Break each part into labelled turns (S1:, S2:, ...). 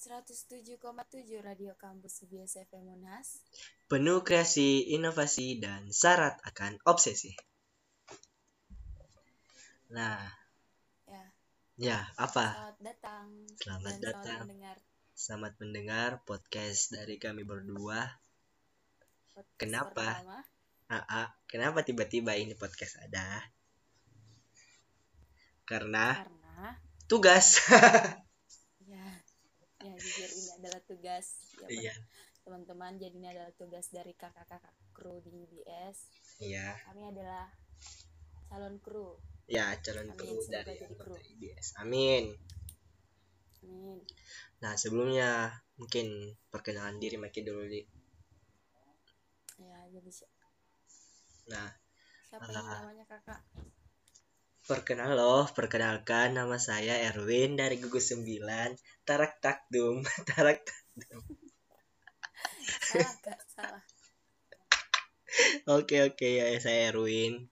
S1: 107,7 Radio Kampus UBS FM Unas.
S2: Penuh kreasi, inovasi, dan syarat akan obsesi. Nah,
S1: Ya,
S2: ya apa?
S1: selamat datang.
S2: Selamat
S1: dan
S2: datang.
S1: Selamat mendengar
S2: Selamat mendengar podcast dari kami berdua.
S1: podcast
S2: Kenapa?
S1: pertama.
S2: Aa, ah. kenapa tiba-tiba ini podcast ada? Karena
S1: Karena
S2: tugas.
S1: ya ya jujur ini adalah tugas ya,
S2: Iya,
S1: teman-teman. Jadi ini adalah tugas dari kakak-kakak kru di UBS.
S2: iya.
S1: Kami adalah calon kru.
S2: Ya, calon
S1: Amin,
S2: kru
S1: semoga
S2: dari
S1: jadi
S2: anggota
S1: kru.
S2: IBS. Amin.
S1: Amin.
S2: Nah, sebelumnya mungkin perkenalan diri makin dulu Li.
S1: Ya, jadi si-
S2: Nah,
S1: siapa yang
S2: Ah.
S1: namanya kakak?
S2: Perkenal loh, perkenalkan nama saya Erwin dari gugus 9 Tarak Takdum, Tarak
S1: Salah kak, salah.
S2: Oke oke ya saya Erwin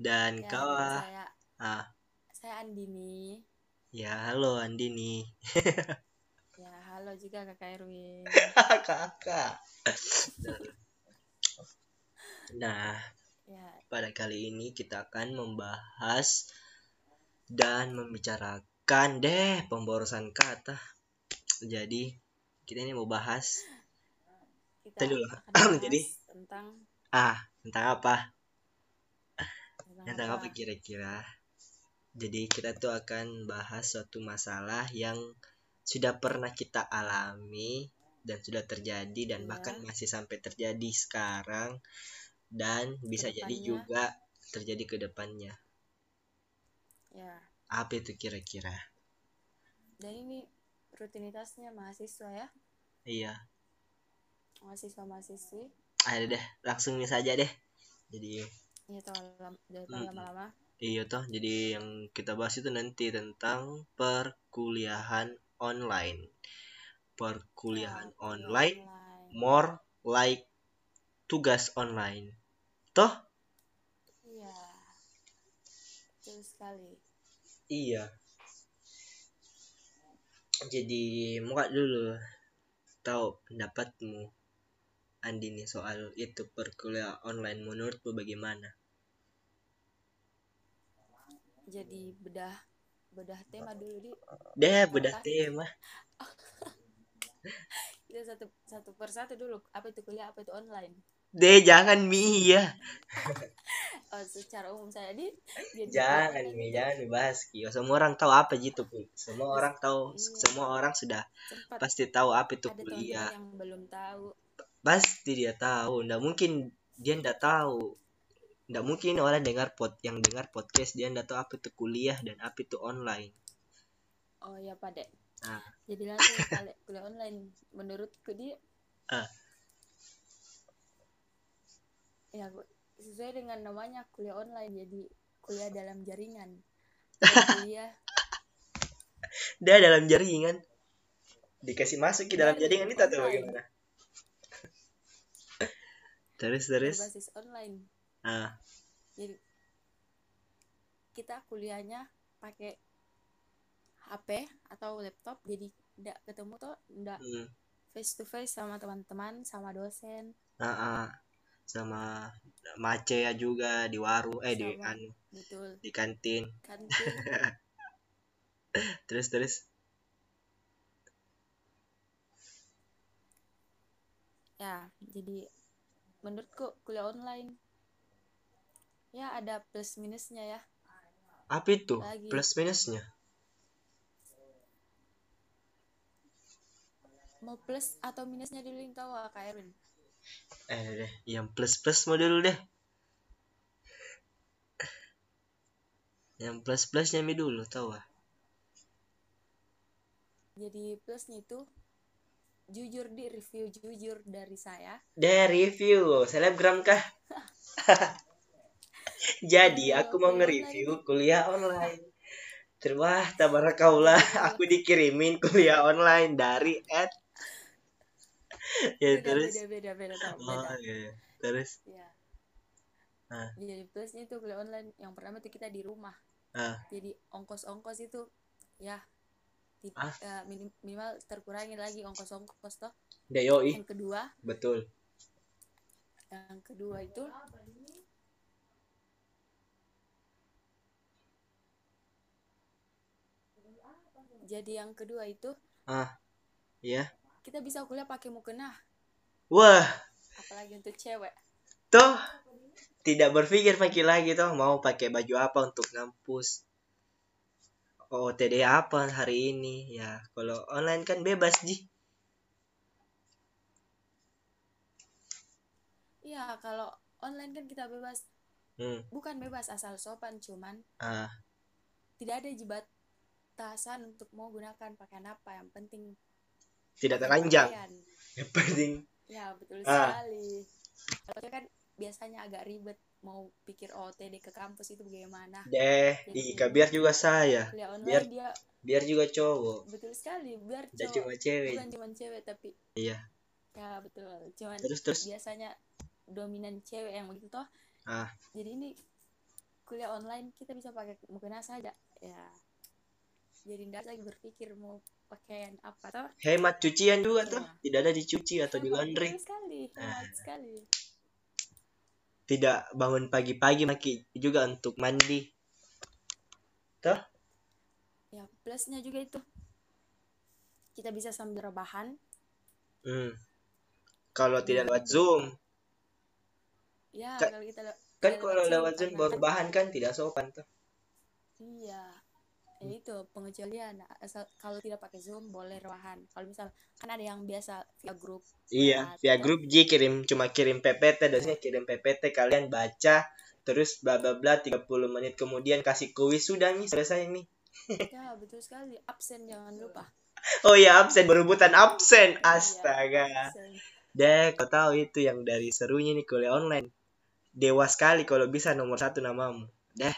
S2: dan
S1: Ya,
S2: kau ah.
S1: saya
S2: Ah.
S1: saya Andini.
S2: ya halo Andini
S1: Ya, halo juga Kakak Erwin.
S2: kakak nah
S1: Ya,
S2: pada kali ini kita akan membahas dan membicarakan deh pemborosan kata jadi kita ini mau bahas
S1: kita
S2: Tadi dulu.
S1: akan bahas
S2: Jadi-
S1: tentang
S2: ah tentang apa
S1: tentang,
S2: tentang Ya, apa kira-kira jadi kita tuh akan bahas suatu masalah yang sudah pernah kita alami dan sudah terjadi
S1: Iya.
S2: dan bahkan masih sampai terjadi sekarang dan bisa jadi
S1: Kedepannya.
S2: juga terjadi ke depannya
S1: Ya.
S2: apa itu kira-kira
S1: Dan ini rutinitasnya mahasiswa ya.
S2: iya
S1: Mahasiswa-mahasiswi.
S2: ada deh langsung ini saja deh jadi
S1: Ya, tolong
S2: Mm-mm.
S1: lama-lama.
S2: iya toh jadi yang kita bahas itu nanti tentang perkuliahan online perkuliahan
S1: Iya,
S2: online more like tugas online.
S1: Iya. Betul sekali.
S2: Iya. Jadi muka dulu tahu pendapatmu Andini soal itu perkuliahan online menurutmu bagaimana?
S1: Jadi bedah bedah tema dulu di
S2: Deh, bedah
S1: Apa?
S2: tema.
S1: kita satu satu persatu dulu apa itu kuliah apa itu online
S2: Deh, jangan Mi ya.
S1: oh, secara umum saya di jadi
S2: Jangan
S1: online itu
S2: Mi, jangan dibahas Kio. Ya, Semua orang tahu apa gitu, Pi. Semua orang tahu,
S1: Iya.
S2: semua orang sudah
S1: sempat
S2: pasti tahu apa itu
S1: ada teman-teman
S2: kuliah.
S1: yang belum tahu
S2: Pasti dia tahu. Nggak mungkin dia nggak tahu. Nggak mungkin orang dengar pod yang dengar podcast dia nggak tahu apa itu kuliah dan apa itu online.
S1: Oh ya Pak Dek.
S2: Ah.
S1: Jadi langsung kali kuliah online menurutku dia
S2: Ah.
S1: ya Bu, sesuai dengan namanya kuliah online jadi kuliah dalam jaringan Dan kuliah
S2: Dia dalam jaringan. Dikasih masuk ke dalam
S1: Iya,
S2: jaringan itu atau
S1: online.
S2: bagaimana? terus terus.
S1: berbasis online
S2: Ah,
S1: jadi kita kuliahnya pakai HP atau laptop jadi tidak ketemu tuh tidak
S2: hmm,
S1: face to face sama teman-teman sama dosen
S2: ah, ah. sama Mace ya juga di warung eh di
S1: Sama.
S2: anu,
S1: betul Kan,
S2: di kantin.
S1: kantin
S2: Terus terus.
S1: ya jadi menurutku kuliah online ya ada plus minusnya ya
S2: Apa itu?
S1: Lagi.
S2: Plus minusnya?
S1: mau plus atau minusnya dulu yang tahu ah, kak Erwin
S2: Eh deh, yang plus plus mau dulu deh. Yang plus plusnya mi dulu tahu ah.
S1: jadi plusnya itu jujur di review jujur dari saya
S2: Deh review selebgram kah? Jadi
S1: Iya,
S2: aku mau
S1: kuliah
S2: nge-review kuliah online. Terwah tabarakallah aku dikirimin kuliah online dari at ya
S1: beda
S2: terus
S1: beda beda beda tau,
S2: oh,
S1: beda
S2: iya. terus
S1: ya
S2: Ah.
S1: jadi plusnya itu kuliah online yang pertama itu kita di rumah
S2: Ah.
S1: jadi ongkos ongkos itu ya Tid-
S2: Ah.
S1: eh, minim- minimal terkurangi lagi ongkos-ongkos toh.
S2: Ya, yoi,
S1: Yang kedua,
S2: betul.
S1: yang kedua itu jadi yang kedua itu
S2: Ah, ya.
S1: kita bisa kuliah pakai mukena
S2: Wah,
S1: apalagi untuk cewek
S2: toh tidak berpikir pakai lagi toh mau pakai baju apa untuk ngampus. OOTD apa hari ini? Ya, kalau online kan bebas, Ji.
S1: iya kalau online kan kita bebas
S2: Hmm.
S1: bukan bebas asal sopan cuman
S2: Ah,
S1: tidak ada jembatasan untuk mau gunakan pakaian apa yang penting
S2: tidak
S1: pakai
S2: teranjang.
S1: pakaian.
S2: Yang penting
S1: ya betul
S2: Ah.
S1: sekali kalau dia kan biasanya agak ribet mau pikir OTD ke kampus itu bagaimana
S2: deh, di biar juga saya,
S1: kuliah online
S2: Iya, Biar-
S1: dia
S2: biar juga cowok.
S1: betul sekali biar
S2: Dan
S1: cowok
S2: cuma cewek.
S1: bukan cuma cewek tapi
S2: Iya.
S1: ya betul cuman
S2: Terus terus
S1: biasanya dominan cewek yang begitu toh
S2: Ah.
S1: jadi ini kuliah online kita bisa pakai mukena saja ya jadi tidak lagi berpikir mau pakaian apa toh
S2: hemat cucian juga tuh.
S1: Iya.
S2: Tidak ada dicuci atau di
S1: Hemat,
S2: laundry. Ah.
S1: betul sekali hemat sekali
S2: Tidak bangun pagi-pagi maki juga untuk mandi.
S1: ya plusnya juga itu kita bisa sambil rebahan
S2: Hmm. Kalau tidak
S1: Iya.
S2: lewat Zoom,
S1: ya
S2: Kan-
S1: kalau kita le-
S2: kan
S1: tidak
S2: kalau lewat Zoom
S1: karena-
S2: baru bahan kan tidak sopan tuh.
S1: iya ya
S2: Hmm.
S1: itu pengecualian asal kalau tidak pakai zoom boleh rebahan kalau misal kan ada yang biasa via grup
S2: Iya,
S1: Nah,
S2: via
S1: tuh.
S2: grup J kirim cuma kirim PPT, dosennya kirim PPT kalian baca terus bla bla bla 30 menit kemudian kasih kuis sudah nih selesai nih.
S1: ya betul sekali absen jangan lupa
S2: Oh iya absen berebutan absen.
S1: Iya,
S2: Astaga.
S1: absen.
S2: Deh, kau tahu itu yang dari serunya nih kuliah online. Dewa sekali kalau bisa nomor satu namamu. Deh,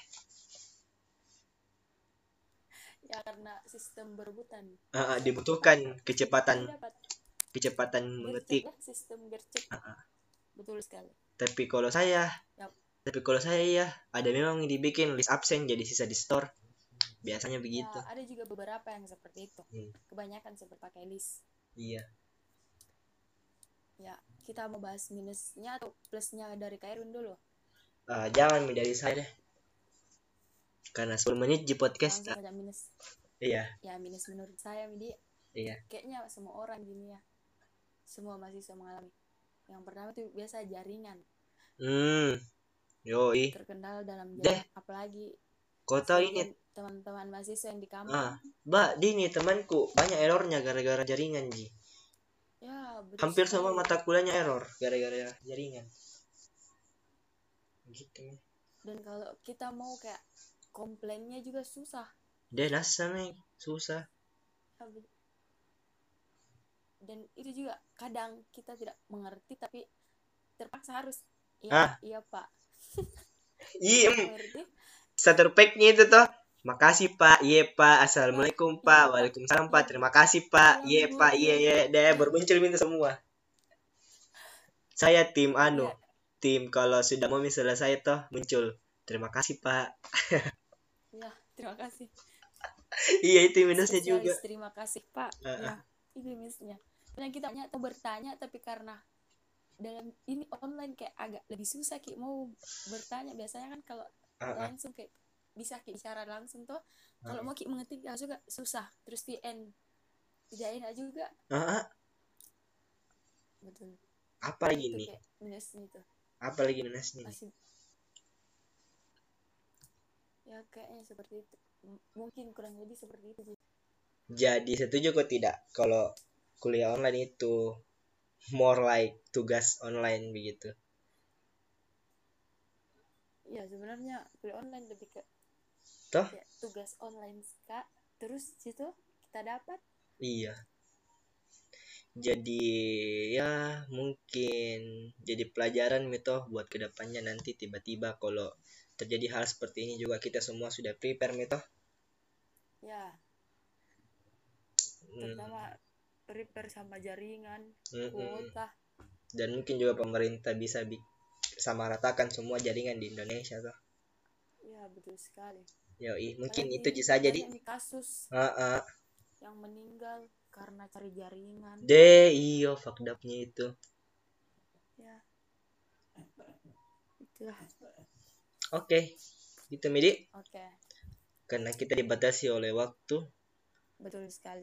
S1: ya karena sistem berebutan
S2: eh, dibutuhkan kecepatan Hmm,
S1: dapat
S2: kecepatan
S1: gercep
S2: mengetik.
S1: ya sistem gercep
S2: Ah,
S1: betul sekali
S2: Tapi kalau saya,
S1: Yap.
S2: tapi kalau saya ya ada memang yang dibikin list absen jadi sisa di store. Biasanya begitu.
S1: ya ada juga beberapa yang seperti itu
S2: Gitu. Hmm.
S1: kebanyakan seperti pakai list
S2: Iya.
S1: ya kita mau bahas minusnya atau plusnya dari Kairun dulu
S2: Eh, jangan Mi, dari saya deh. Karena 10 menit di podcast.
S1: langsung ada minus
S2: Iya,
S1: ya minus menurut saya Midi
S2: iya.
S1: kayaknya semua orang gini ya semua mahasiswa mengalami yang pertama itu biasa jaringan
S2: Hmm. Yoi.
S1: terkendal dalam
S2: Deh.
S1: jaringan apalagi
S2: Kota ini
S1: sebagian teman-teman mahasiswa yang di kampus
S2: Ah, Mbak, di nih temanku banyak errornya gara-gara jaringan Ji.
S1: ya betul
S2: Hampir semua
S1: sekali.
S2: mata kuliahnya error gara-gara jaringan. Gitu.
S1: dan kalau kita mau kayak komplainnya juga susah Ya,
S2: Dia nasa Mei. eh. susah.
S1: dan itu juga kadang kita tidak mengerti tapi terpaksa harus iya
S2: Ah.
S1: Pak, iya pak
S2: Iya,
S1: mengerti
S2: starter pack-nya itu toh. Makasih Pak, iya Pak, Assalamualaikum Pak, Waalaikumsalam Pak, terima kasih Pak, iya Pak, iya iya, deh bermuncul minta semua. Saya tim Anu,
S1: Iya.
S2: tim kalau sudah mau selesai toh muncul. Terima kasih Pak.
S1: ya terima kasih
S2: Iya itu minusnya juga.
S1: Spesialis, terima kasih pak
S2: Ah,
S1: ya itu minusnya dan kita banyak tuh bertanya tapi karena dalam ini online kayak agak lebih susah ki mau bertanya biasanya kan kalau
S2: Ah, ah.
S1: langsung kayak bisa ki bicara langsung tuh kalau mau ki mengetik langsung gak susah terus VN tidak enak juga
S2: Ah, ah.
S1: betul
S2: apa lagi
S1: itu
S2: nih?
S1: kayak minusnya itu
S2: Apa lagi minusnya? nih?
S1: masih ya kayaknya seperti itu M- mungkin kurang lebih seperti itu sih
S2: Jadi setuju kok tidak kalau kuliah online itu more like tugas online begitu.
S1: ya sebenarnya kuliah online lebih ke
S2: Toh?
S1: kayak tugas online kak terus situ kita dapat
S2: Iya. Jadi ya mungkin jadi pelajaran mito buat kedepannya nanti tiba-tiba kalau terjadi hal seperti ini juga kita semua sudah prepare mito.
S1: ya
S2: Hmm.
S1: terutama prepare sama jaringan kuota
S2: hmm. Dan mungkin juga pemerintah bisa bi- samaratakan semua jaringan di Indonesia tuh.
S1: ya betul sekali
S2: Yoi, mungkin
S1: Apalagi
S2: itu bisa jadi.
S1: banyak nih kasus
S2: Heeh.
S1: yang meninggal karena cari jaringan
S2: Deh, iyo fucked up-nya itu.
S1: ya itulah
S2: Oke. Gitu Midi,
S1: oke
S2: karena kita dibatasi oleh waktu.
S1: betul sekali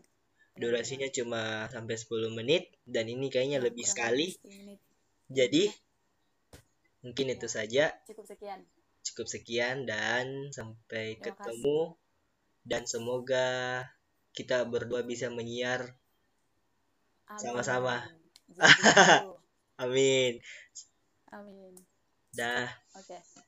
S2: Durasinya cuma sampai 10 menit dan ini kayaknya
S1: Kurang-
S2: lebih
S1: kurang
S2: sekali.
S1: 10 menit.
S2: Jadi mungkin itu saja.
S1: cukup sekian
S2: Cukup sekian dan
S1: Terima
S2: sampai
S1: kasih.
S2: ketemu dan semoga kita berdua bisa menyiar.
S1: Amin.
S2: Sama-sama.
S1: Jadi,
S2: Amin.
S1: amin
S2: Dah.
S1: oke